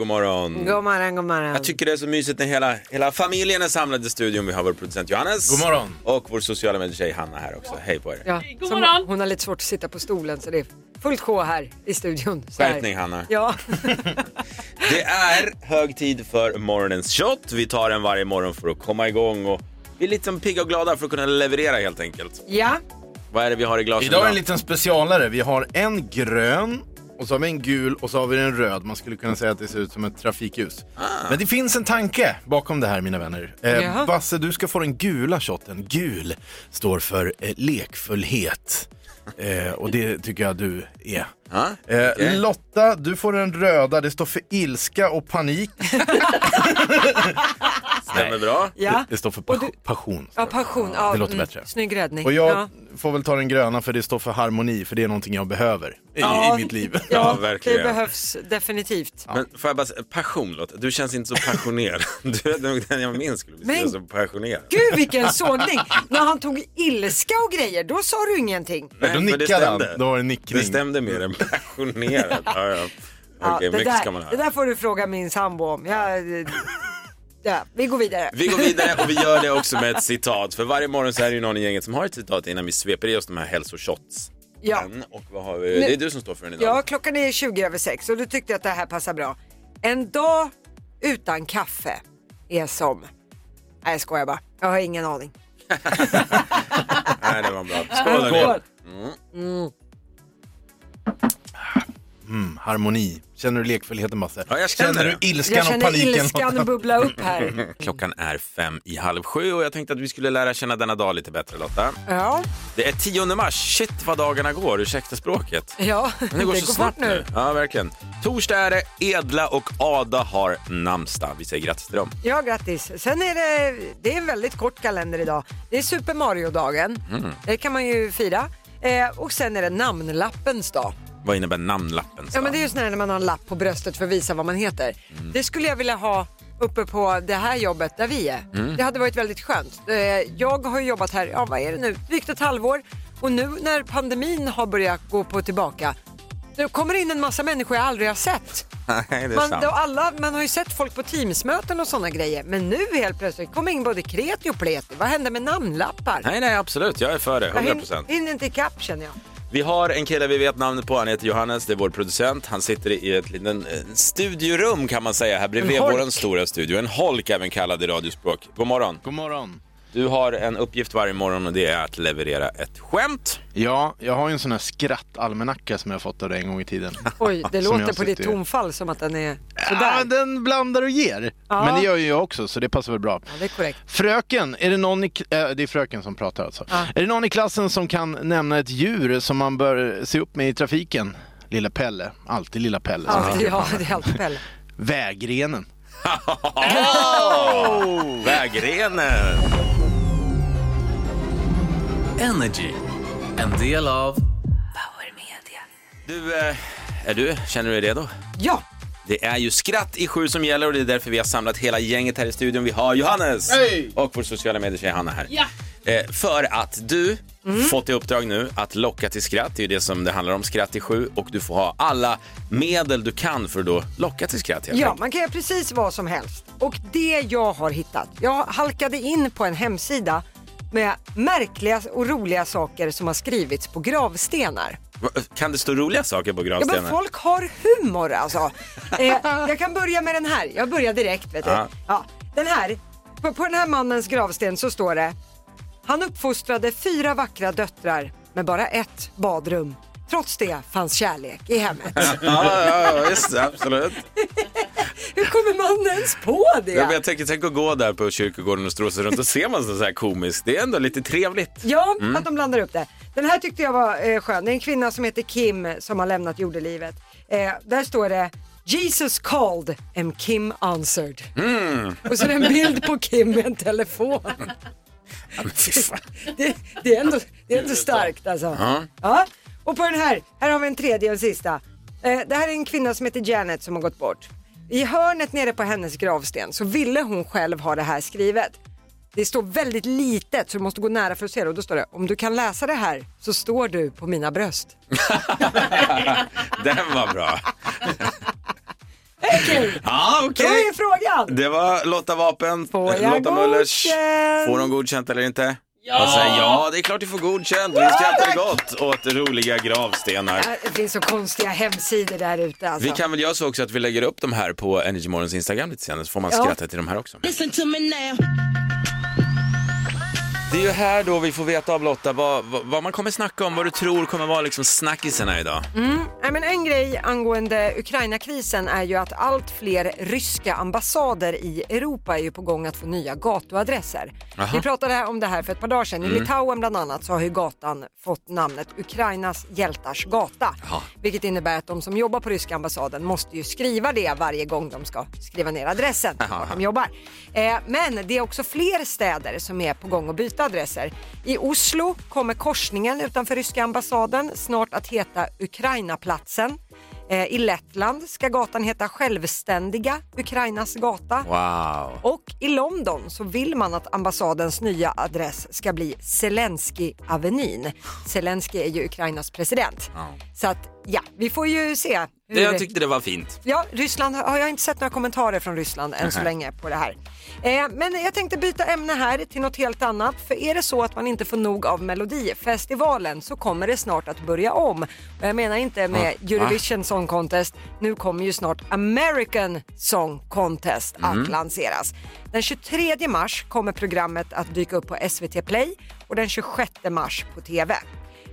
God morgon. God morgon, god morgon. Jag tycker det är så mysigt när hela, hela familjen är samlad i studion. Vi har vår producent Johannes. God morgon. Och vår sociala medietjej Hanna här också. Hej på er. ja, God som- morgon. Hon har lite svårt att sitta på stolen så det är fullt sjå här i studion. Så här. Skärpning Hanna. Ja, Det är hög tid för morgonens shot. Vi tar den varje morgon för att komma igång och vi är lite som pigga och glada för att kunna leverera helt enkelt. ja. Vad är det vi har i glasen Idag är en liten specialare. Vi har en grön, och så har vi en gul och så har vi en röd. Man skulle kunna säga att det ser ut som ett trafikljus. Men det finns en tanke bakom det här mina vänner. Eh, Ah. Jaha. Basse, du ska få den gula shotten. Gul står för eh, lekfullhet. Eh, och det tycker jag du är. Ja, Eh, okej. Lotta, du får den röda. Det står för ilska och panik. Stämmer bra. ja. Det står för pas- passion. ja passion. Ja, Det låter mm, bättre. Snygg räddning. Och jag Ja. får väl ta den gröna för det står för harmoni, för det är någonting jag behöver i, Ja. i mitt liv. Ja, Ja, det verkligen. behövs definitivt. Men får jag bara säga, passion Lotta, du känns inte så passionerad. Du är nog den jag minns skulle beskriva Men- som passionerad. Gud vilken sågning! När han tog ilska och grejer, då sa du ingenting. Nej, då för det nickade han. stämde. Då var det en nickning. Det stämde mer än passionerad. Ja, ja. Ja, Okej, det, mycket ska man där, det höra. där får du fråga min sambo om. Ja, eh, ja, vi går vidare. Vi går vidare och vi gör det också med ett citat. För varje morgon så är det ju någon i gänget som har ett citat innan vi sveper i oss de här hälsoshots. Ja. Och vad har vi? Det är du som står för den idag. Ja, klockan är 20 över sex och du tyckte jag att det här passar bra. En dag utan kaffe är som... Nej, jag skojar bara. Jag har ingen aning. Nej, det var bra. Skål, hörni. Harmoni. Känner du lekfullheten Basse? Ja, jag känner du det. ilskan Jag och känner paniken? ilskan bubbla upp här. Klockan är fem i halv sju och jag tänkte att vi skulle lära känna denna dag lite bättre Lotta. Ja, Det är 10 mars. Shit vad dagarna går, ursäkta språket. ja. Men det går så snabbt nu. Ja, verkligen. Torsdag är det, Edla och Ada har namnsdag. Vi säger grattis till dem. Ja, grattis. Sen är det, det är en väldigt kort kalender idag. Det är Super Mario-dagen. Mm. Det kan man ju fira. Eh, och sen är det namnlappens dag. Vad innebär namnlappen? Ja, men det är ju sån här när man har en lapp på bröstet för att visa vad man heter. Mm. Det skulle jag vilja ha uppe på det här jobbet där vi är. Mm. Det hade varit väldigt skönt. Eh, Jag har ju jobbat här, ja vad är det nu, drygt ett halvår. Och nu när pandemin har börjat gå på tillbaka, då kommer det in en massa människor jag aldrig har sett. Nej, det är Man, sant. då alla, man har ju sett folk på Teamsmöten och sådana grejer. Men nu helt plötsligt kommer in både kreti och pleti. Vad händer med namnlappar? Nej, nej, absolut. Jag är för det. jag 100 hin- hinner inte ikapp känner jag. Vi har en kille vi vet namnet på. Han heter Johannes. Det är vår producent. Han sitter i ett litet eh, studiorum kan man säga här bredvid En holk. vår stora studio. En holk även kallad i radiospråk. God morgon. God morgon. Du har en uppgift varje morgon och det är att leverera ett skämt. Ja, jag har ju en sån här skrattalmanacka som jag fått av dig en gång i tiden. Oj, det Ah, Som jag låter på ditt sitter i. tonfall som att den är Ja, sådär. den blandar och ger. Ja. Men det gör ju jag också, så det passar väl bra. Ja, det är korrekt. Fröken, är det någon i, äh, det är fröken som pratar alltså. Är det någon i klassen som kan nämna ett djur som man bör se upp med i trafiken? Lilla Pelle, alltid lilla Pelle. som Ja, heter. det, ja, det är alltid Pelle. Vägrenen. Vägrenen. Energy. En del av Du, eh, är du, känner du dig redo? Ja, Det är ju skratt i sju som gäller och det är därför vi har samlat hela gänget här i studion. Vi har Johannes Hej! och vår sociala medietjej Hanna här. Ja. Eh, för att du Mm. fått i uppdrag nu att locka till skratt. Det är ju det som det handlar om, skratt i sju. Och du får ha alla medel du kan för att då locka till skratt helt ja, enkelt. man kan göra precis vad som helst. Och det jag har hittat, jag halkade in på en hemsida med märkliga och roliga saker som har skrivits på gravstenar. Va- eh, Kan det stå roliga saker på Ja, men gravstenen? folk har humor alltså. Eh, jag kan börja med den här, jag börjar direkt vet du. Ja. Ja, den här, på, på den här mannens gravsten så står det Han uppfostrade fyra vackra döttrar med bara ett badrum. Trots det fanns kärlek i hemmet. ja, ja, ja, visst, absolut. Hur kommer man ens på det? Ja. men Jag tänker, tänk att gå där på kyrkogården och strosa runt och se man så här komiskt. Det är ändå lite trevligt. Ja, att de blandar upp det. Den här tyckte jag var eh, skön. Det är en kvinna som heter Kim som har lämnat jordelivet. Eh, där står det Jesus called and Kim answered. Och så är det en bild på Kim med en telefon. Ja, men fy fan. Det, det, är, ändå, det är ändå starkt alltså. Ja. Och på den här, här har vi en tredje och sista. Eh, det här är en kvinna som heter Janet som har gått bort. I hörnet nere på hennes gravsten så ville hon själv ha det här skrivet. Det står väldigt litet så du måste gå nära för att se det och då står det om du kan läsa det här så står du på mina bröst. Den var bra. Är Okej, Ja, då okej. är frågan. Det var Lotta Vapen, Får eh, jag Lotta Möllers. godkänt? Får hon godkänt eller inte? Ja! Säger, ja, det är klart du får godkänt. Vi skrattar gott åt roliga gravstenar. Ja, Eh, Det finns så konstiga hemsidor där ute alltså. Vi kan väl göra så också att vi lägger upp de här på Energy Morgons Instagram lite senare så får man Ja. skratta till de här också. Det är ju här då vi får veta av Lotta vad, vad, vad man kommer snacka om, vad du tror kommer vara liksom snackisarna idag. Mm. Nej, men en grej angående Ukraina-krisen är ju att allt fler ryska ambassader i Europa är ju på gång att få nya gatuadresser. Aha. Vi pratade här om det här för ett par dagar sedan. I Litauen bland annat så har ju gatan fått namnet Ukrainas hjältars gata. Jaha. Vilket innebär att de som jobbar på ryska ambassaden måste ju skriva det varje gång de ska skriva ner adressen Jaha. vart de jobbar. Eh, men det är också fler städer som är på gång att byta adresser. I Oslo kommer korsningen utanför ryska ambassaden snart att heta Ukrainaplatsen. Eh, I Lettland ska gatan heta Självständiga Ukrainas gata. Wow. Och i London så vill man att ambassadens nya adress ska bli Zelensky-avenyn. Zelensky är ju Ukrainas president. Ja. Så att ja, vi får ju se. hur Det, jag tyckte det var fint. Ja, Ryssland har jag har inte sett några kommentarer från Ryssland än så länge på det här. Eh, men jag tänkte byta ämne här till något helt annat. För är det så att man inte får nog av Melodifestivalen så kommer det snart att börja om. Och jag menar inte med Eurovision Song Contest. Nu kommer ju snart American Song Contest att lanseras. Den 23 mars kommer programmet att dyka upp på SVT Play och den 26 mars på TV.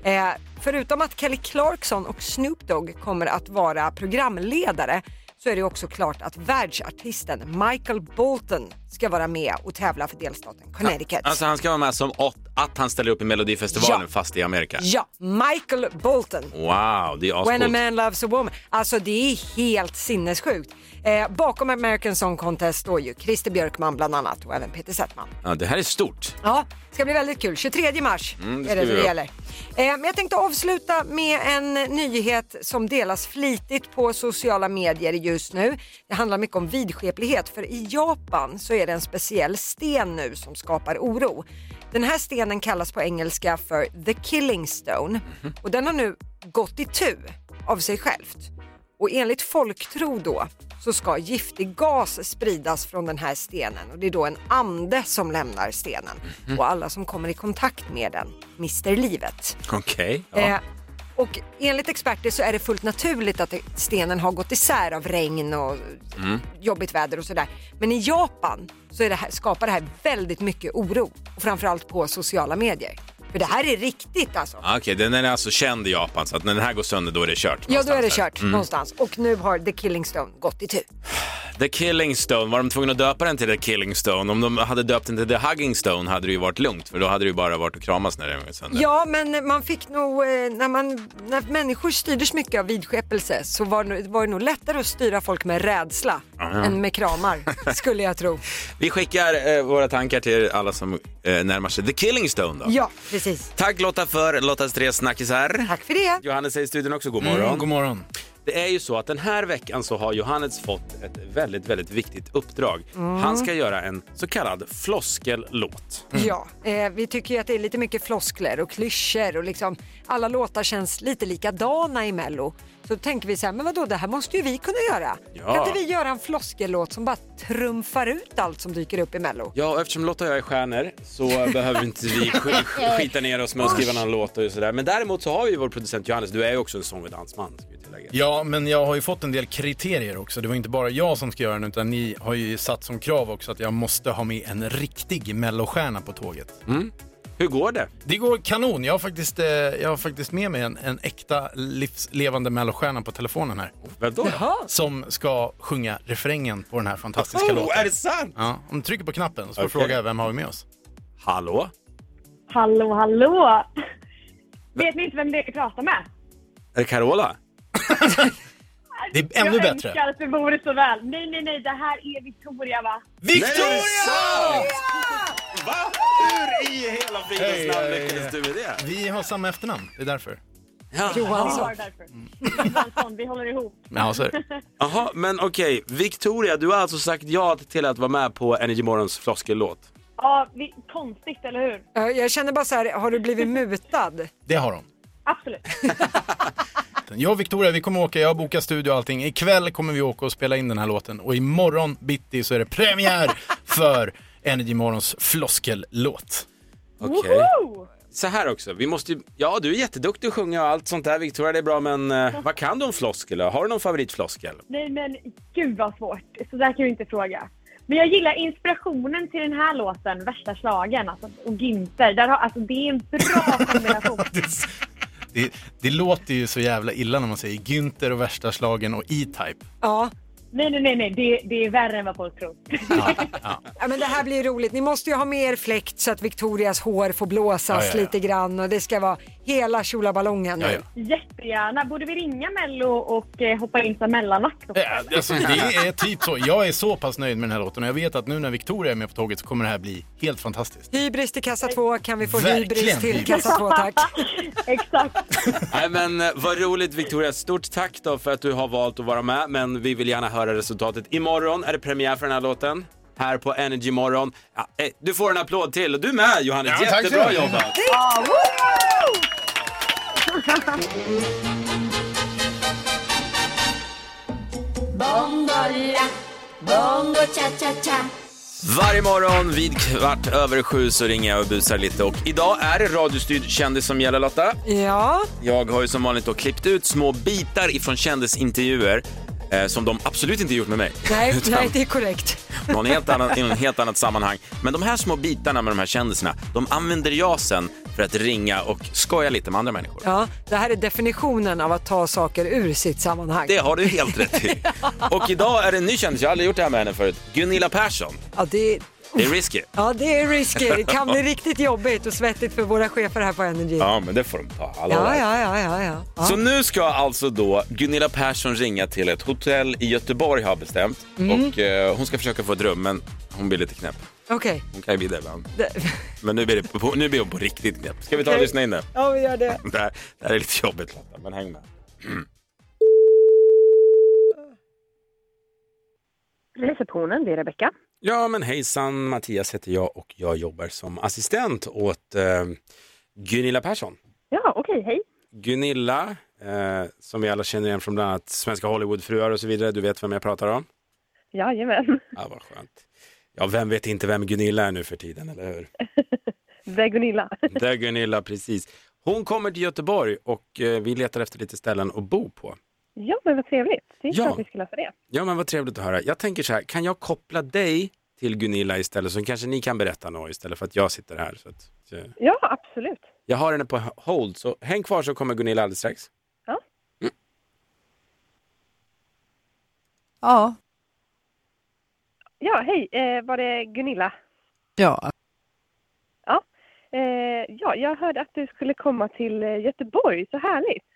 Eh, förutom att Kelly Clarkson och Snoop Dogg kommer att vara programledare så är det också klart att världsartisten Michael Bolton ska vara med och tävla för delstaten Connecticut. Alltså han ska vara med som åt, att han ställer upp i Melodifestivalen Ja. fast i Amerika. Ja, Michael Bolton. Wow, det är When a ascoolt. man loves a woman. Alltså det är helt sinnessjukt. Eh, bakom American Song Contest står ju Christer Björkman bland annat och även Peter Settman. Ja, det här är stort. Ja, det ska bli väldigt kul. 23 mars Mm, det är det skriver det jag. gäller. Eh, men jag tänkte avsluta med en nyhet som delas flitigt på sociala medier just nu. Det handlar mycket om vidskeplighet för i Japan så är det en speciell sten nu som skapar oro. Den här stenen kallas på engelska för the killing stone Mhm. och den har nu gått i tu av sig självt. Och enligt folktro då så ska giftig gas spridas från den här stenen och det är då en ande som lämnar stenen Mhm. och alla som kommer i kontakt med den mister livet. Okej. Eh, och enligt experter så är det fullt naturligt att stenen har gått isär av regn och Mm. jobbigt väder och sådär. Men i Japan så är det här, skapar det här väldigt mycket oro och framförallt på sociala medier. För det här är riktigt alltså. Ja. Okej, den är alltså känd i Japan så att när den här går sönder då är det kört. Ja, då är det någonstans där. Mm. kört någonstans och nu har The Killing Stone gått i tur. The Killing Stone, var de tvungna att döpa den till The Killing Stone? Om de hade döpt den till The Hugging Stone hade det ju varit lugnt för då hade det ju bara varit att kramas när den var sönder. Ja, men man fick nog, eh, när, man, när människor styrdes mycket av vidskepelse så var, det nog- var det nog lättare att styra folk med rädsla än med kramar, skulle jag tro. Vi skickar eh, våra tankar till alla som eh, närmar sig The Killing Stone då. Ja, precis. Tack Lotta för Lottas tre snackisar. Tack för det. Johannes säger i studion också god morgon. Mm, god morgon. Det är ju så att den här veckan så har Johannes fått ett väldigt, väldigt viktigt uppdrag. Mm. Han ska göra en så kallad floskellåt. Ja, eh, vi tycker ju att det är lite mycket floskler och klyschor och liksom alla låtar känns lite likadana i Mello. Så tänker vi så här, men vadå, det här måste ju vi kunna göra. Ja. Kan inte vi göra en floskellåt som bara trumfar ut allt som dyker upp i Mello? Ja, och eftersom Lotta och jag är stjärnor så behöver inte vi sk- sk- skita ner oss med att skriva några låtar och sådär. Men däremot så har vi ju vår producent Johannes, du är ju också en sång och dansman. Ska vi tillägga. Ja, men jag har ju fått en del kriterier också. Det var inte bara jag som ska göra den, utan ni har ju satt som krav också att jag måste ha med en riktig mellostjärna på tåget. Hur går det? Det går kanon. Jag har faktiskt, eh, jag har faktiskt med mig en, en äkta livslevande mellostjärna på telefonen här. Vadå? Som ska sjunga refrängen på den här fantastiska Oh, låten. är det sant? Ja, om du trycker på knappen så får du Okej. fråga vem har vi med oss. Hallå? Hallå, hallå! Vet ni inte vem det är vi pratar med? Är det Carola? Det är ännu jag bättre. önskar att det vore så väl. Nej, nej, nej, det här är Victoria, va? Nej, Victoria! sant! Va? Hur i hela Hej, fridens namn hej, lyckades du hej. med det? Vi har samma efternamn, det är därför. Vi Johansson. har det därför. Mm. Johansson, vi håller ihop. Ja, så är det. Jaha, men okej. Victoria, du har alltså sagt ja till att vara med på Energy Morgons floskellåt. Ja, vi, konstigt, eller hur? Eh, Jag känner bara så här, har du blivit mutad? Det har de. Absolut. låten. Jag och Victoria, vi kommer åka, jag har bokat studio och allting. Ikväll kommer vi åka och spela in den här låten och imorgon bitti så är det premiär för Energy Morgons floskellåt. Okej. Så här också, vi måste ju... Ja, du är jätteduktig att sjunga och allt sånt där Victoria, det är bra, men eh, vad kan du om floskel? Har du någon favoritfloskel? Nej men gud vad svårt. Så där kan du inte fråga. Men jag gillar inspirationen till den här låten, Värsta slagen, alltså, och Günther. Där har, alltså, det är en bra kombination. Det, det låter ju så jävla illa när man säger Günther och värsta slagen och E-Type. Ja. nej, nej, nej, nej. Det, det är värre än vad folk tror. ja, men det här blir ju roligt. Ni måste ju ha med er fläkt så att Victorias hår får blåsas Ja, ja, ja. lite grann och det ska vara hela tjolaballongen nu. Ja, ja. Jättegärna. Borde vi ringa Mello och eh, hoppa in som mellanakt? Eh, också? Ja, Alltså, det är typ så. Jag är så pass nöjd med den här låten och jag vet att nu när Victoria är med på tåget så kommer det här bli helt fantastiskt. Hybris till kassa två, kan vi få Verkligen hybris till hybris. kassa två tack? Exakt. Nej, men eh, vad roligt Victoria. Stort tack då för att du har valt att vara med, men vi vill gärna höra resultatet. Imorgon är det premiär för den här låten här på Energy Morgon. Ja, eh, du får en applåd till och du med Johannes, Ja, tack så jättebra mycket. jobbat! Bongola, bongo cha cha cha. Varje morgon vid kvart över sju så ringer jag och busar lite och idag är det radiostyrd kändis som gäller Lotta. Ja, Jag har ju som vanligt då klippt ut små bitar ifrån kändisintervjuer eh, som de absolut inte gjort med mig. nej, Utan nej det är korrekt. någon helt annan, i någon helt annat sammanhang. Men de här små bitarna med de här kändisarna, de använder jag sen för att ringa och skoja lite med andra människor. Ja, det här är definitionen av att ta saker ur sitt sammanhang. Det har du helt rätt i. Och idag är det en ny kändis, jag har aldrig gjort det här med henne förut, Gunilla Persson. Ja, det, Det är risky. ja, det är risky. Det kan bli riktigt jobbigt och svettigt för våra chefer här på Energy. Ja, Ja, men det får de ta. Alla har ja, rätt. ja, ja. ja, ja. Så nu ska alltså då Gunilla Persson ringa till ett hotell i Göteborg har jag bestämt. Mm. Och eh, hon ska försöka få ett rum men hon blir lite knäpp. Okej. Hon kan ju bli det ibland. Det- Men nu blir, det på, nu blir hon på riktigt knäpp. Ska vi ta och lyssna in det? Ja, vi gör det. Det här, det här är lite jobbigt Lotta, men häng med. Receptionen, det är Rebecka. Ja men hejsan, Mattias heter jag och jag jobbar som assistent åt eh, Gunilla Persson. Ja, okej, hej. Gunilla, eh, som vi alla känner igen från bland annat Svenska Hollywoodfruar och så vidare. Du vet vem jag pratar om? Jajamän. Ja, vad skönt. Ja, vem vet inte vem Gunilla är nu för tiden, eller hur? Det är Gunilla. Det är Gunilla, precis. Hon kommer till Göteborg och eh, vi letar efter lite ställen att bo på. Ja, men vad trevligt. Det är Ja. klart vi ska lösa det. Ja, men vad trevligt att höra. Jag tänker så här, kan jag koppla dig till Gunilla istället så kanske ni kan berätta något istället för att jag sitter här. Så att, eh, Ja, absolut. jag har henne på hold, så häng kvar så kommer Gunilla alldeles strax. Ja. Ja, Ja, hej. Eh, var det Gunilla? ja. Ja. Eh, ja, jag hörde att du skulle komma till eh, Göteborg. Så härligt.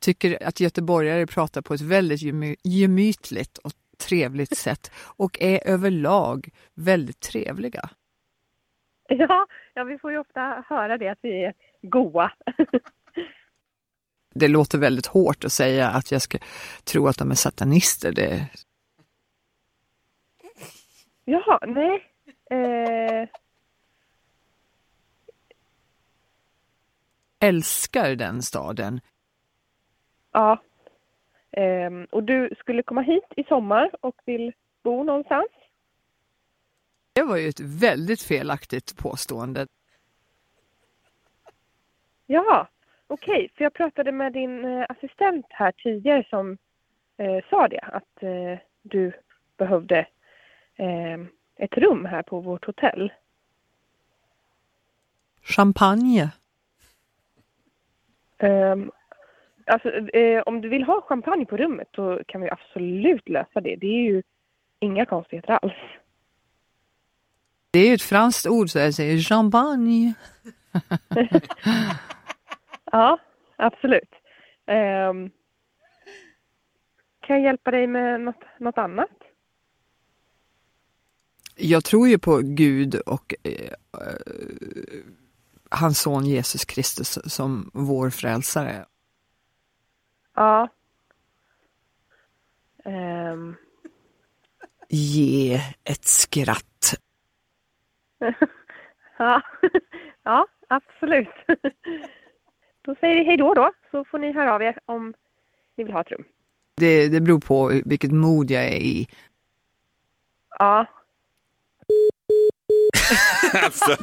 Tycker att göteborgare pratar på ett väldigt gemy- gemytligt och trevligt sätt och är överlag väldigt trevliga. Ja, ja, vi får ju ofta höra det att vi är goa. Det låter väldigt hårt att säga att jag ska tro att de är satanister. Det, Jaha, nej. Eh, älskar den staden. ja. Ehm, och du skulle komma hit i sommar och vill bo någonstans? Det var ju ett väldigt felaktigt påstående. Ja, okej. För jag pratade med din eh, assistent här tidigare som eh, sa det, att eh, du behövde eh, ett rum här på vårt hotell. Champagne. Ehm, alltså, eh, om du vill ha champagne på rummet då kan vi absolut lösa det. Det är ju inga konstigheter alls. Det är ju ett franskt ord så jag säger champagne. Ja, absolut. Ehm, kan jag hjälpa dig med något, något annat? Jag tror ju på Gud och eh, eh, hans son Jesus Kristus som vår frälsare. Ja. Ehm, Ge ett skratt. ja. ja, absolut. Då säger vi hej då då, så får ni höra av er om ni vill ha ett rum. Det, det beror på vilket mod jag är i. Ja, Alltså.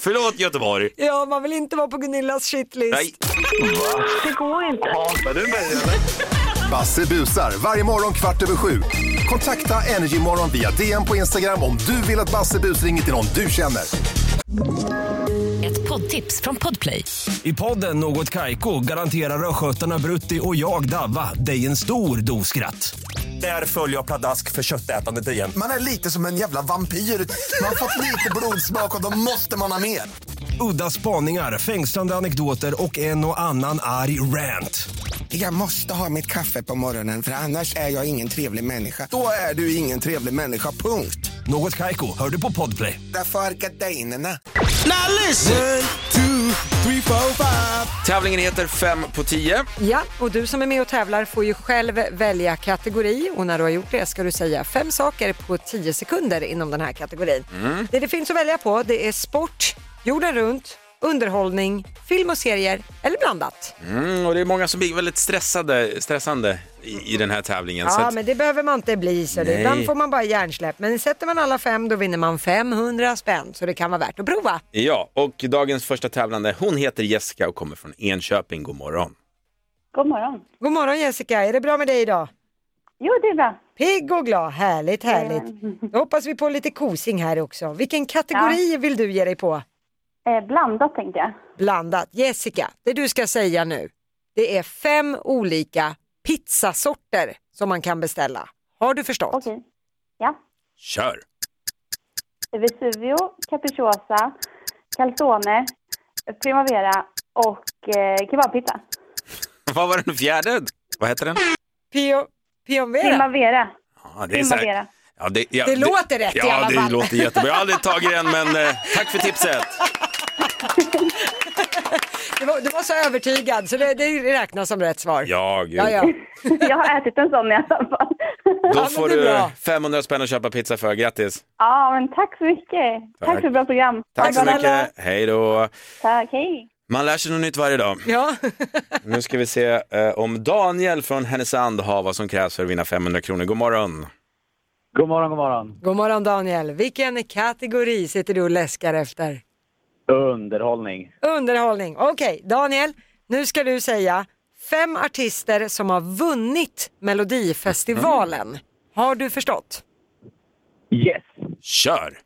Förlåt Göteborg. Ja, man vill inte vara på Gunillas shitlist. Nej. Basse busar varje morgon kvart över sju. Kontakta Energymorgon via DM på Instagram om du vill att Basse bus ringer till någon du känner. Ett poddtips från Podplay. I podden Något Kaiko garanterar östgötarna Brutti och jag, Davva, dig en stor dos skratt. Där följer jag pladask för köttätandet igen. Man är lite som en jävla vampyr. Man har fått lite blodsmak och då måste man ha mer. Udda spaningar, fängslande anekdoter och en och annan arg rant. Jag måste ha mitt kaffe på morgonen för annars är jag ingen trevlig människa. Då är du ingen trevlig människa, punkt. Något Kaiko, hör du på Podplay. Därför är gardinerna. Tävlingen heter 5 på 10. Ja, och du som är med och tävlar får ju själv välja kategori och när du har gjort det ska du säga fem saker på tio sekunder inom den här kategorin. Mm. Det det finns att välja på det är sport, jorden runt, underhållning, film och serier eller blandat. Mm, och det är många som blir väldigt stressade, stressande i, i den här tävlingen. så Ja, att, men det behöver man inte bli så det. Nej. Ibland får man bara hjärnsläpp. Men sätter man alla fem då vinner man 500 spänn så det kan vara värt att prova. ja, och dagens första tävlande, hon heter Jessica och kommer från Enköping. God morgon. god morgon. God morgon Jessica, är det bra med dig idag? Jo, det är bra. Pigg och glad, härligt, härligt. Då hoppas vi på lite kosing här också. Vilken kategori vill du ge dig på? Eh, blandat tänkte jag. blandat. Jessica, det du ska säga nu, det är fem olika pizzasorter som man kan beställa. Har du förstått? Okej. Ja. Kör! Vesuvio, capricciosa, calzone, primavera och eh, kebabpizza. Vad var den fjärde? Vad heter den? Pio, Pionvera? Primavera. Ja, det, är så här- Primavera. ja, det, ja, Det låter rätt i ja, alla fall. det låter jättebra. Jag har aldrig tagit den, men eh, tack för tipset. Du var, du var så övertygad så det, det räknas som rätt svar. Ja, gud. ja, ja. Jag har ätit en sån i alla fall. Då men får det är du bra. 500 spänn att köpa pizza för. Grattis! Ja, men tack så mycket. Tack, Tack. för ett bra program. Tack så snälla. mycket. Hej då. Tack, hej. Man lär sig något nytt varje dag. ja. Nu ska vi se eh, om Daniel från Härnösand har vad som krävs för att vinna 500 kronor. God morgon! God morgon, god morgon. God morgon Daniel, vilken kategori sitter du och läskar efter? Underhållning. Underhållning. Okej, Daniel, nu ska du säga fem artister som har vunnit Mm. Melodifestivalen. Har du förstått? Yes. Kör!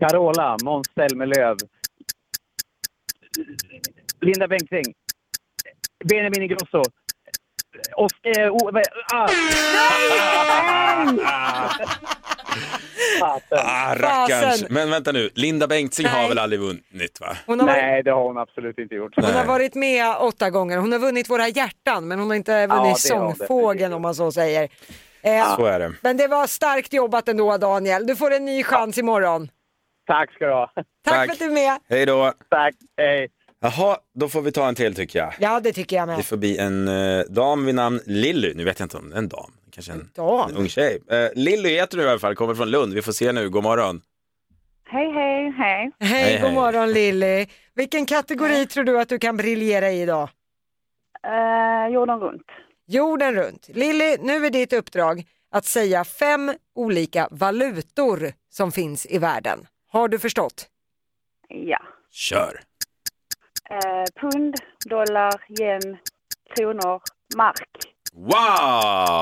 Carola, Måns Zelmerlöw. Linda Bengtzing. Benjamin Ingrosso. Oskar... Oh, vad- ah. Fasen. Ah, rackarns. Fasen. Men vänta nu, Linda Bengtzing har väl aldrig vunnit va? Hon har varit Nej, det har hon absolut inte gjort. Hon har Nej. varit med åtta gånger. Hon har vunnit Våra hjärtan men hon har inte det har hon vunnit Sångfågeln definitivt. om man så säger. Eh, Så är det. men det var starkt jobbat ändå Daniel. Du får en ny chans imorgon. Tack ska du ha. Tack, Tack. för att du är med. Hej då! Tack. Hej. Jaha, då får vi ta en till tycker jag. Ja det tycker jag Det med. får bli en eh, dam vid namn Lilly. Nu vet jag inte om det är en dam. Kanske en, dam? en ung tjej. Eh, Lilly heter du i alla fall, kommer från Lund. Vi får se nu. God morgon. Hej, hej, hej. Hej, Hej, god hej. morgon Lilly. Vilken kategori tror du att du kan briljera i idag? Eh, jorden runt. Jorden runt. Lilly, nu är ditt uppdrag att säga fem olika valutor som finns i världen. Har du förstått? Ja. Kör! Eh, pund, dollar, yen, kronor, mark. Wow!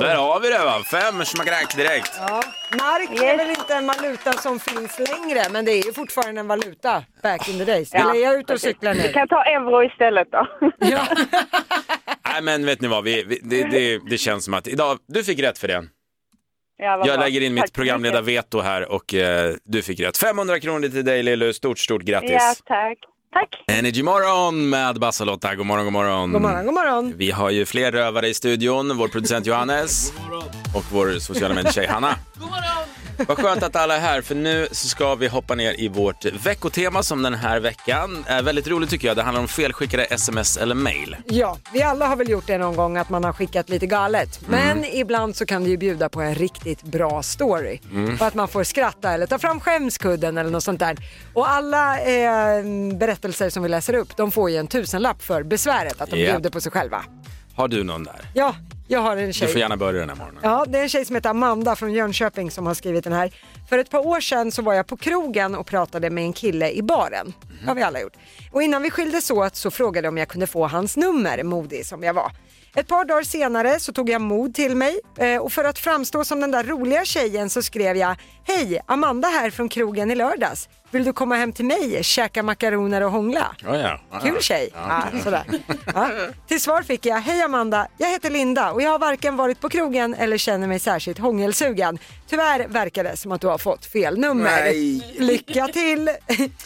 Där har vi det va! Fem smackarack direkt. Ja, mark är väl inte en valuta som finns längre, men det är ju fortfarande en valuta back in the days. Eller är jag ute och cyklar nu? Vi kan ta euro istället då. Ja. Nej men vet ni vad, vi, vi, det, det, det känns som att idag, du fick rätt för det. Ja, vad Jag bra. lägger in mitt Tack så mycket. programledarveto här och eh, du fick rätt. 500 kronor till dig Lilly, stort stort Ja, grattis. tack. Tack. Energy morgon med Bassalotta, god morgon, god morgon. God morgon, god morgon. Vi har ju fler rövare i studion, vår producent Johannes och vår sociala medier-tjej Hanna. Vad skönt att alla är här, för nu så ska vi hoppa ner i vårt veckotema som den här veckan är väldigt roligt tycker jag. Det handlar om felskickade sms eller mail. Ja, vi alla har väl gjort det någon gång att man har skickat lite galet. Mm. Men ibland så kan det ju bjuda på en riktigt bra story. Mm. Och att man får skratta eller ta fram skämskudden eller något sånt där. Och alla eh, berättelser som vi läser upp, de får ju en tusenlapp för besväret att de Ja. bjuder på sig själva. Har du någon där? Ja, jag har en Du tjej. får gärna börja den här morgonen. Ja, det är en tjej som heter Amanda från Jönköping som har skrivit den här. För ett par år sedan så var jag på krogen och pratade med en kille i baren. Det har vi alla gjort. Och innan vi skildes åt så frågade jag om jag kunde få hans nummer, modig som jag var. Ett par dagar senare så tog jag mod till mig eh, och för att framstå som den där roliga tjejen så skrev jag Hej, Amanda här från krogen i lördags. Vill du komma hem till mig, käka makaroner och hångla? Ja, ja. Kul tjej. Ja, sådär. Ja. Till svar fick jag, hej Amanda, jag heter Linda och jag har varken varit på krogen eller känner mig särskilt hångelsugen. Tyvärr verkar det som att du har fått fel nummer. Nej. Lycka till!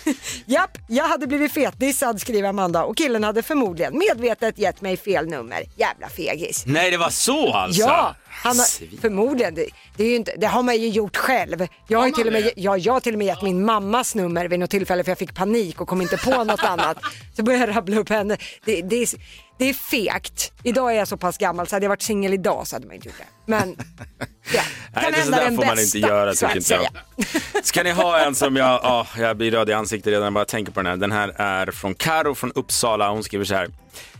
Japp, jag hade blivit fetdissad skriver Amanda och killen hade förmodligen medvetet gett mig fel nummer. Jävla fegis. Nej, det var så alltså? Ja, han har, förmodligen. Det, det, är ju inte, det har man ju gjort själv. Jag har, ju till och med, ja, jag har till och med gett min mammas nummer vid något tillfälle för jag fick panik och kom inte på något annat. Så började jag rabbla upp henne. Det, det, är, det är fegt. Idag är jag så pass gammal så hade jag varit singel idag så hade man inte gjort det. Men Nej, kan det hända sådär den får man bästa, inte göra så tycker att inte jag. Ska ni ha en som jag, ja, jag blir röd i ansiktet redan när jag bara tänker på den här. Den här är från Karo från Uppsala. Hon skriver så här.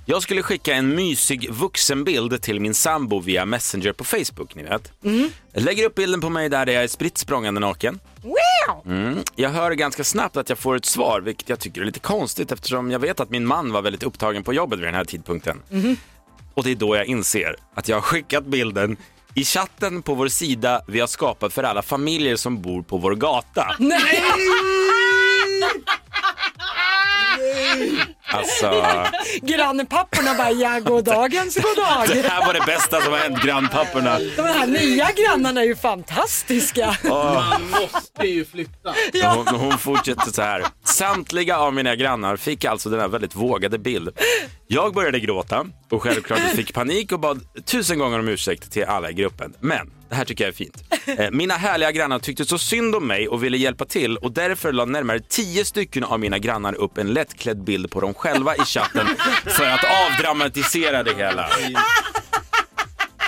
Jag skulle skicka en mysig vuxenbild till min sambo via Messenger på Facebook, ni vet. Mm. Jag lägger upp bilden på mig där jag är spritt språngande naken. Wow! Mm. Jag hör ganska snabbt att jag får ett svar, vilket jag tycker är lite konstigt eftersom jag vet att min man var väldigt upptagen på jobbet vid den här tidpunkten. Och det är då jag inser att jag har skickat bilden i chatten på vår sida vi har skapat för alla familjer som bor på vår gata. Nej! Alltså, Grannpapporna bara, ja god dagens god dag. det här var det bästa som har hänt grannpapporna. De här nya grannarna är ju fantastiska. Åh. måste ju flytta. Hon, hon fortsätter så här. Samtliga av mina grannar fick alltså den här väldigt vågade bild. Jag började gråta och självklart fick panik och bad tusen gånger om ursäkt till alla i gruppen. Men det här tycker jag är fint. Eh, Mina härliga grannar tyckte så synd om mig och ville hjälpa till och därför la närmare tio stycken av mina grannar upp en lättklädd bild på dem själva i chatten för att avdramatisera det hela.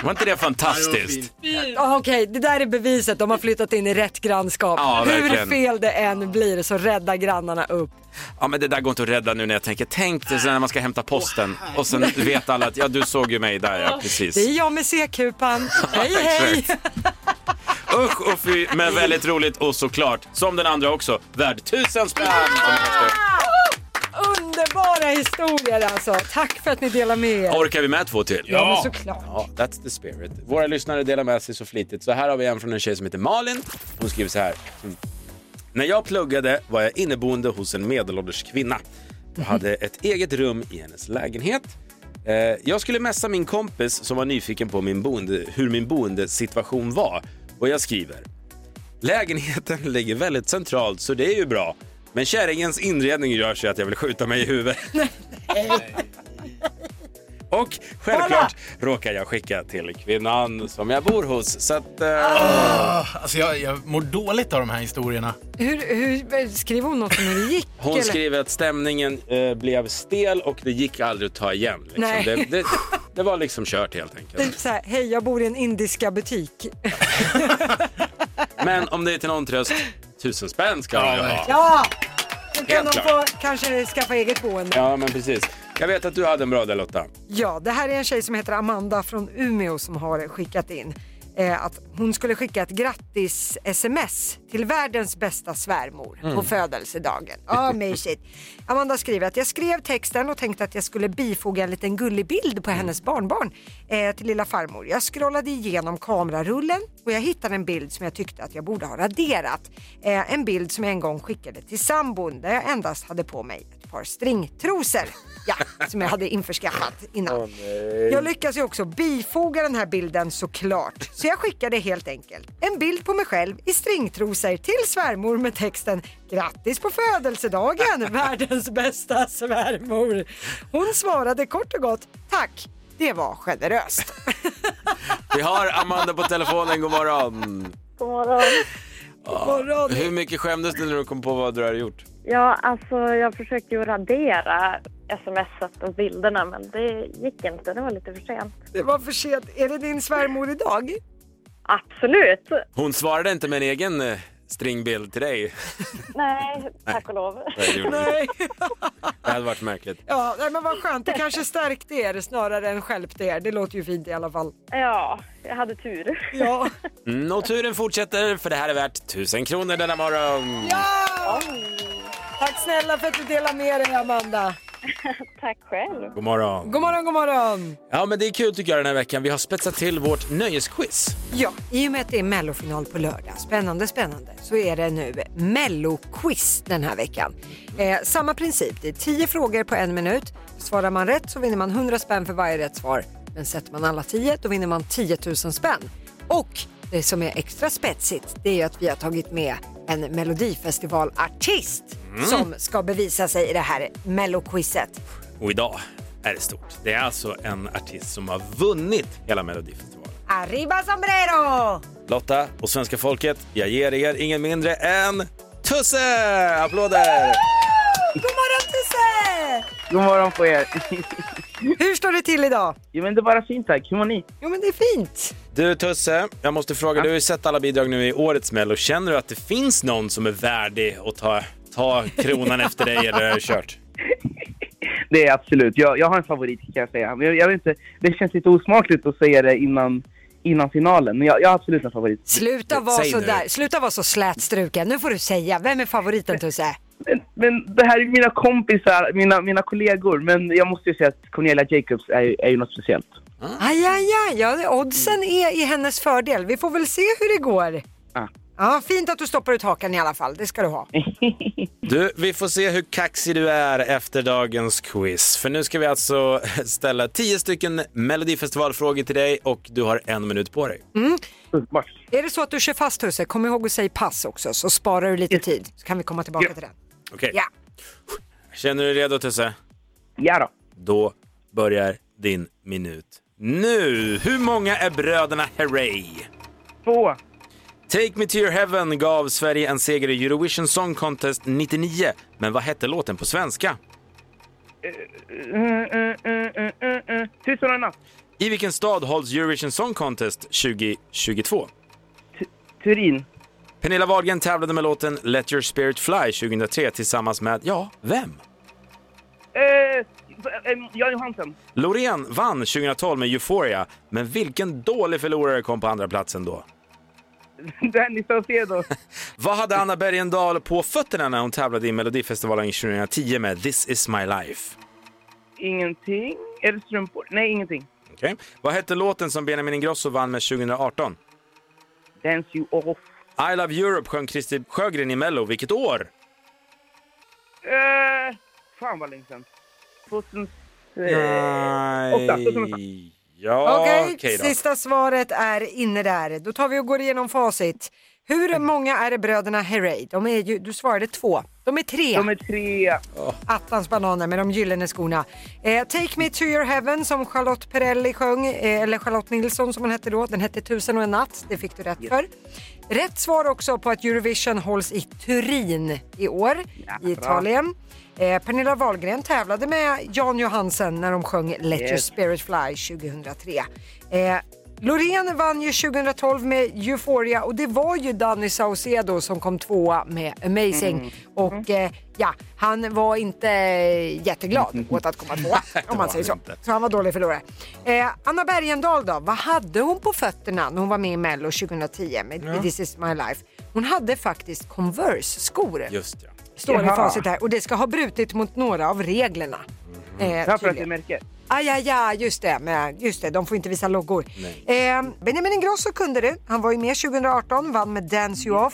Var inte det fantastiskt? Ja, Okej, det där är beviset. De har flyttat in i rätt grannskap. Ja, Hur verkligen. fel det än blir så räddar grannarna upp. Ja men det där går inte att rädda nu när jag tänker, tänk dig sen när man ska hämta posten och sen vet alla att ja du såg ju mig där ja precis. Det är jag med C-kupan. Hej hej! Usch och fy, men väldigt roligt och såklart, som den andra också, värd tusen spänn! som efter. Underbara historier alltså. Tack för att ni delar med er. Orkar vi med två till? Ja, men såklart. Ja, that's the spirit. Våra lyssnare delar med sig så flitigt. Så här har vi en från en tjej som heter Malin. Hon skriver så här. Mm. När jag pluggade var jag inneboende hos en medelålders kvinna. Jag hade ett eget rum i hennes lägenhet. Eh, Jag skulle messa min kompis som var nyfiken på min boende, hur min boendesituation var. Och jag skriver. Lägenheten ligger väldigt centralt så det är ju bra. Men kärringens inredning gör så att jag vill skjuta mig i huvudet. Och självklart råkar jag skicka till kvinnan som jag bor hos. Så att, eh, Ah, Alltså jag, jag mår dåligt av de här historierna. Hur, hur, skrev hon något om hur det gick? Hon eller? skriver att stämningen eh, blev stel och det gick aldrig att ta igen. Liksom. Nej. Det, det, det var liksom kört helt enkelt. Typ så här, hej jag bor i en indiska butik. Men om det är till någon tröst, tusen spänn ska hon ju ha. Ja! Nu kan Helt de få klart. kanske skaffa eget boende. Ja, men precis. Jag vet att du hade en bra där Lotta. Ja, det här är en tjej som heter Amanda från Umeå som har skickat in eh, att hon skulle skicka ett grattis-sms till världens bästa svärmor på Mm. födelsedagen. Ja, mysigt. Amanda skriver att jag skrev texten och tänkte att jag skulle bifoga en liten gullig bild på hennes barnbarn eh, till lilla farmor. Jag scrollade igenom kamerarullen och jag hittade en bild som jag tyckte att jag borde ha raderat. Eh, en bild som jag en gång skickade till sambon där jag endast hade på mig ett par stringtrosor. Ja, som jag hade införskaffat innan. Jag lyckas ju också bifoga den här bilden såklart. Så jag skickade helt enkelt en bild på mig själv i stringtrosor till svärmor med texten Grattis på födelsedagen världens bästa svärmor. Hon svarade kort och gott Tack, det var generöst. Vi har Amanda på telefonen, god morgon. God morgon. morgon. Hur mycket skämdes du när du kom på vad du hade gjort? Ja, alltså jag försökte ju radera smset och bilderna men det gick inte. Det var lite för sent. Det var för sent. Är det din svärmor idag? Absolut. Hon svarade inte med en egen eh, stringbild till dig. Nej, tack och lov. Nej, det gjorde hon Nej. inte. Det hade varit märkligt. Ja, nej, men vad skönt. Det kanske stärkte er snarare än stjälpte er. Det låter ju fint i alla fall. Ja, jag hade tur. Ja. Mm, och turen fortsätter för det här är värt 1000 kronor denna morgon. Ja! Tack snälla för att du delar med dig, Amanda. Tack själv. God morgon. God morgon, god morgon. Ja, men det är kul tycker jag den här veckan. Vi har spetsat till vårt nöjesquiz. Ja, i och med att det är mellofinal på lördag, spännande, spännande, så är det nu melloquiz den här veckan. Eh, samma princip, det är 10 frågor på en minut. Svarar man rätt så vinner man 100 spänn för varje rätt svar. Men sätter man alla 10 då vinner man 10 000 spänn. Och det som är extra spetsigt, det är ju att vi har tagit med en melodifestivalartist Mm. som ska bevisa sig i det här melloquizet. Och idag är det stort. Det är alltså en artist som har vunnit hela Melodifestivalen. Arriba sombrero! Lotta och svenska folket, jag ger er ingen mindre än Tusse! Applåder! God morgon Tusse! God morgon på er. Hur står det till idag? Jo men det är bara fint tack. Hur mår ni? Jo men det är fint. Du Tusse, jag måste fråga, du har ju sett alla bidrag nu i årets Mello. Känner du att det finns någon som är värdig att ta, ta kronan efter dig eller är det kört? Det är absolut. Jag, jag har en favorit kan jag säga. Men jag, jag vet inte, det känns lite osmakligt att säga det innan, innan finalen. Men jag, jag har absolut en favorit. Sluta vara så där. Sluta vara så slätstruken. Nu får du säga, vem är favoriten Tusse? Men det här är mina kompisar, mina, mina kollegor. Men jag måste ju säga att Cornelia Jacobs är, ju- är ju något speciellt. Aj, aj, aj. Ja, oddsen är i hennes fördel. Vi får väl se hur det går. Ja. Ja, fint att du stoppar ut hakan i alla fall. Det ska du ha. Du, vi får se hur kaxig du är efter dagens quiz. För nu ska vi alltså ställa tio stycken Melodifestivalfrågor till dig och du har en minut på dig. Mm. Är det så att du kör fast Tusse, kom ihåg att säga pass också så sparar du lite tid. Så kan vi komma tillbaka till den. Okej. Ja. Känner du dig redo Tusse? Ja då. Då börjar din minut nu. Hur många är bröderna Herrey? Två. Take Me To Your Heaven gav Sverige en seger i Eurovision Song Contest 99. Men vad hette låten på svenska? Mm, mm, mm, mm, mm, mm. Tusen och en natt. I vilken stad hålls Eurovision Song Contest 2022? Turin. Pernilla Wahlgren tävlade med låten Let Your Spirit Fly 2003 tillsammans med, ja, vem? Eh, eh, Jan Johansson. Loreen vann 2012 med Euphoria, men vilken dålig förlorare kom på andra platsen då? Danny Saucedo. Vad hade Anna Bergendahl på fötterna när hon tävlade i Melodifestivalen 2010 med This is my life? Ingenting. Är det strumpor? Nej, ingenting. Okej. Vad hette låten som Benjamin Ingrosso vann med 2018? Dance you off. I Love Europe sjöng Christer Sjögren i Mello. Vilket år? Eh, fan vad länge sedan. eh, 2000... åtta, åtta. Nej. Ja, Okej, okej då. sista svaret är inne där. Då tar vi och går igenom facit. Hur många är bröderna Herrey? De är ju, du svarade två. De är tre. De är tre. Attans bananer med de gyllene skorna. Eh, Take me to your heaven som Charlotte Perrelli sjöng, eh, eller Charlotte Nilsson som hon hette då. Den hette Tusen och en natt, det fick du rätt för. Rätt svar också på att Eurovision hålls i Turin i år i Italien. Eh, Pernilla Wahlgren tävlade med Jan Johansen när de sjöng Let your Yes. spirit fly 2003. Eh, Loreen vann ju 2012 med Euphoria och det var ju Danny Saucedo som kom tvåa med Amazing. Mm. Och eh, ja, han var inte jätteglad åt att komma tvåa om man säger så. Så han var dålig förlorare. Eh, Anna Bergendahl då, vad hade hon på fötterna när hon var med i Mello 2010 med Ja. This is my life? Hon hade faktiskt Converse-skor. Just ja. Står det i Jaha. facit här och det ska ha brutit mot några av reglerna. Eh, Ja, för att det tydligen. är märke. Aj, aj, aj, just det, men, just det, de får inte visa loggor. Nej. Eh, Benjamin Ingrosso kunde det. Han var ju med 2018, vann med Dance You Off.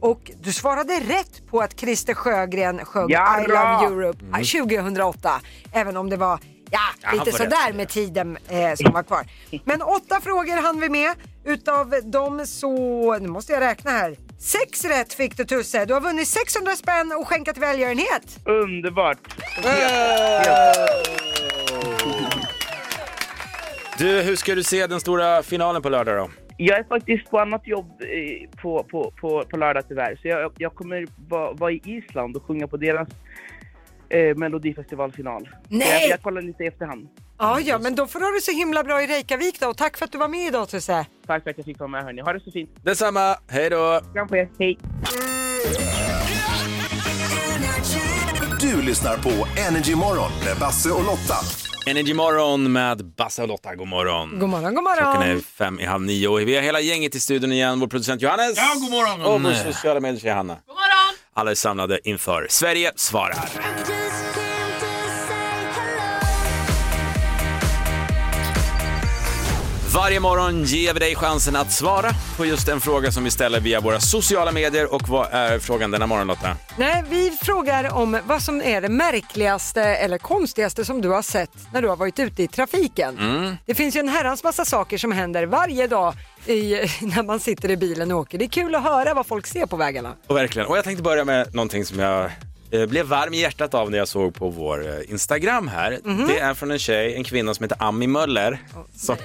Och du svarade rätt på att Christer Sjögren sjöng Jarra! I Love Europe Mm. eh, 2008. Även om det var ja, Ja, han lite får rätt. sådär med tiden eh, som var kvar. Men åtta frågor hann vi med. Utav dem så, nu måste jag räkna här. Sex rätt fick du Tusse. Du har vunnit 600 spänn och skänkat välgörenhet. Underbart. Du, hur ska du se den stora finalen på lördag då? Jag är faktiskt på annat jobb eh, på, på, på, på lördag tyvärr. Så jag, jag kommer vara vara i Island och sjunga på deras eh, melodifestivalfinal. Nej! Jag, jag kollar lite i efterhand. Ja, ja, men då får du ha det så himla bra i Reykjavik då och tack för att du var med idag Tusse. Tack för att jag fick vara med hörni. Ha det så fint. Detsamma, hej då! Kram på er, hej! Du lyssnar på Energy Morgon med Basse och Lotta. Energy morgon med Basse och Lotta, god morgon. God morgon, god Klockan är morgon. fem i halv nio och vi har hela gänget i studion igen. Vår producent Johannes. Ja, god morgon. Och vår sociala medier Hanna. God morgon. Alla är samlade inför Sverige svarar. Varje morgon ger vi dig chansen att svara på just en fråga som vi ställer via våra sociala medier. Och vad är frågan denna morgon Lotta? Nej, vi frågar om vad som är det märkligaste eller konstigaste som du har sett när du har varit ute i trafiken. Mm. Det finns ju en herrans massa saker som händer varje dag i, när man sitter i bilen och åker. Det är kul att höra vad folk ser på vägarna. Och verkligen. Och jag tänkte börja med någonting som jag eh, blev varm i hjärtat av när jag såg på vår eh, Instagram här. Mhm. Det är från en tjej, en kvinna som heter Ami Möller. Som,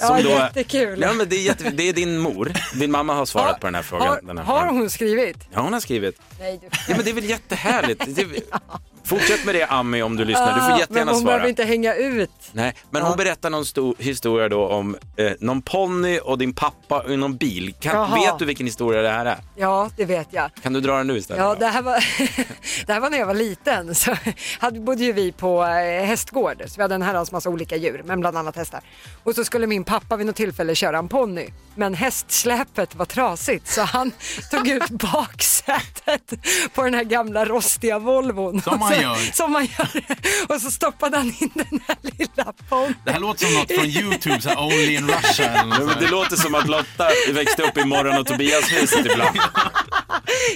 Ja, då- jättekul. Ja, men det, är jätte... det är din mor. Din mamma har svarat på den här frågan. den Har, här har frågan. hon skrivit? Ja, hon har skrivit. Nej, du Ja, men det är väl jättehärligt. Det... Fortsätt med det Ami om du lyssnar. Du Ah, får men jättegärna hon svara. behöver inte hänga ut. Nej, men hon berättar någon stor historia då om eh, någon ponny och din pappa och någon bil. Kan... Jaha. Vet du vilken historia det här är? Ja, det vet jag. Kan du dra den nu istället? Ja, det här, var, det här var när jag var liten. Så hade, bodde ju vi på eh, hästgård, så vi hade en herrans massa olika djur, men bland annat hästar. Och så skulle min pappa vid något tillfälle köra en ponny, men hästsläpet var trasigt så han tog ut baksätet på den här gamla rostiga Volvon. Som Och man så- gör. Som man gör. Och så stoppade han in den här lilla ponnyn. Det här låter som något från YouTube, så här, Only in Russia eller något Ja, men det låter som att Lotta växte upp i morgon och Tobias-huset ibland.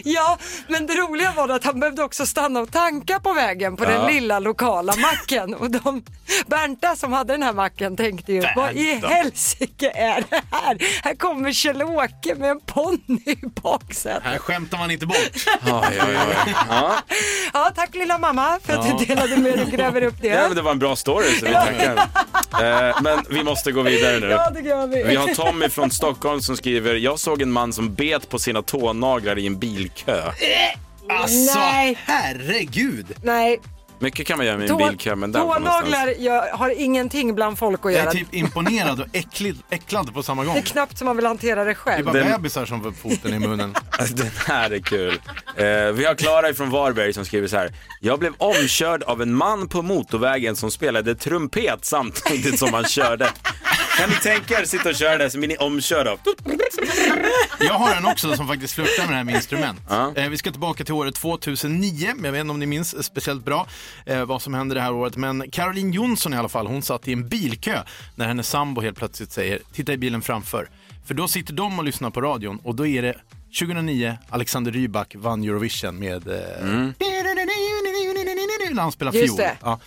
Ja, men det roliga var att han behövde också stanna och tanka på vägen på Ja. den lilla lokala macken. Och de, Bernta som hade den här macken tänkte ju, vad i Bernta. helsike är det här? Här kommer Kjell-Åke med en ponny i baksätet. Här skämtar man inte bort. Oj, oj, oj. Ja. Ja, tack lilla mamma för att Ja. du delade med dig och gräver upp det. Ja, men det var en bra story så vi tackar. Eh, Men vi måste gå vidare nu. Ja, det gör vi. Vi har Tommy från Stockholm som skriver, jag såg en man som bet på sina tånaglar i en bilkö. Alltså, Nej. herregud. Nej, Mycket kan man göra med en tå, bilkö, men där var tånaglar någonstans. gör, har ingenting bland folk att Jag är göra. typ imponerad och äcklad, äcklad på samma gång. Det är knappt som man vill hantera det Det är själv. bara bebisar som får foten i munnen. Den här är kul. Eh, vi har Klara från Varberg som skriver så här. Jag blev omkörd av en man på motorvägen som spelade trumpet samtidigt som han körde. Kan ni tänka er sitta och köra det som ni är omkörda av? Jag har en också som faktiskt flörtar med det här med instrument. Eh, vi ska tillbaka till året 2009, men jag vet inte om ni minns speciellt bra eh, vad som hände det här året. Men Caroline Jonsson i alla fall, hon satt i en bilkö när hennes sambo helt plötsligt säger “titta i bilen framför”. För då sitter de och lyssnar på radion och då är det 2009, Alexander Rybak vann Eurovision med... Eh, när han spelar Just fiol. det. Ja.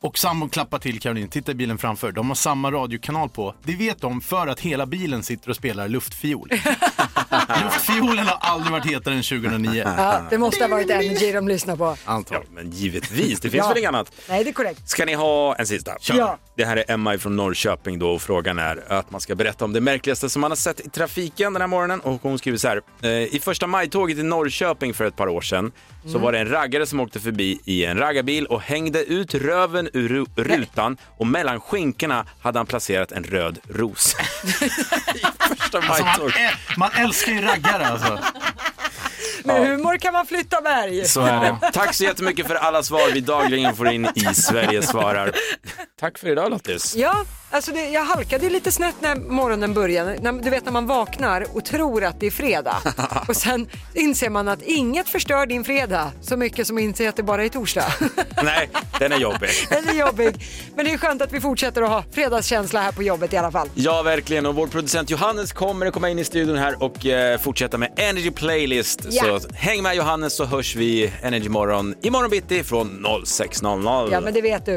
Och sambon klappar till Caroline, titta i bilen framför. De har samma radiokanal på. Det vet de för att hela bilen sitter och spelar luftfiol. Luftfiolen har aldrig varit hetare än 2009. Ja, det måste ha varit Energy de lyssnar på. Antagligen. Men givetvis, det finns Ja. väl inget annat. Nej, det är korrekt. Ska ni ha en sista? Kör. Ja. Det här är Emma från Norrköping då och frågan är att man ska berätta om det märkligaste som man har sett i trafiken den här morgonen. Och hon skriver så här. eh, I första maj-tåget i Norrköping för ett par år sedan så Mm. var det en raggare som åkte förbi i en raggarbil och hängde ut röven ur ru- rutan och mellan skinkorna hade han placerat en röd ros. Första Alltså man, maj-tåg. ä- man älskar ju raggare alltså. Med Ja. humor kan man flytta berg. Så är det. Tack så jättemycket för alla svar vi dagligen får in i Sverige svarar. Tack för idag Lottis. Ja, alltså det, jag halkade ju lite snett när morgonen började. När, du vet när man vaknar och tror att det är fredag och sen inser man att inget förstör din fredag så mycket som att inse att det bara är torsdag. Nej, den är jobbig. Den är jobbig. Men det är skönt att vi fortsätter att ha fredagskänsla här på jobbet i alla fall. Ja, verkligen. Och vår producent Johannes kommer att komma in i studion här och eh, fortsätta med Energy Playlist. Ja. Så häng med Johannes så hörs vi Energy Morgon imorgon bitti från 06.00. Ja, men det vet du.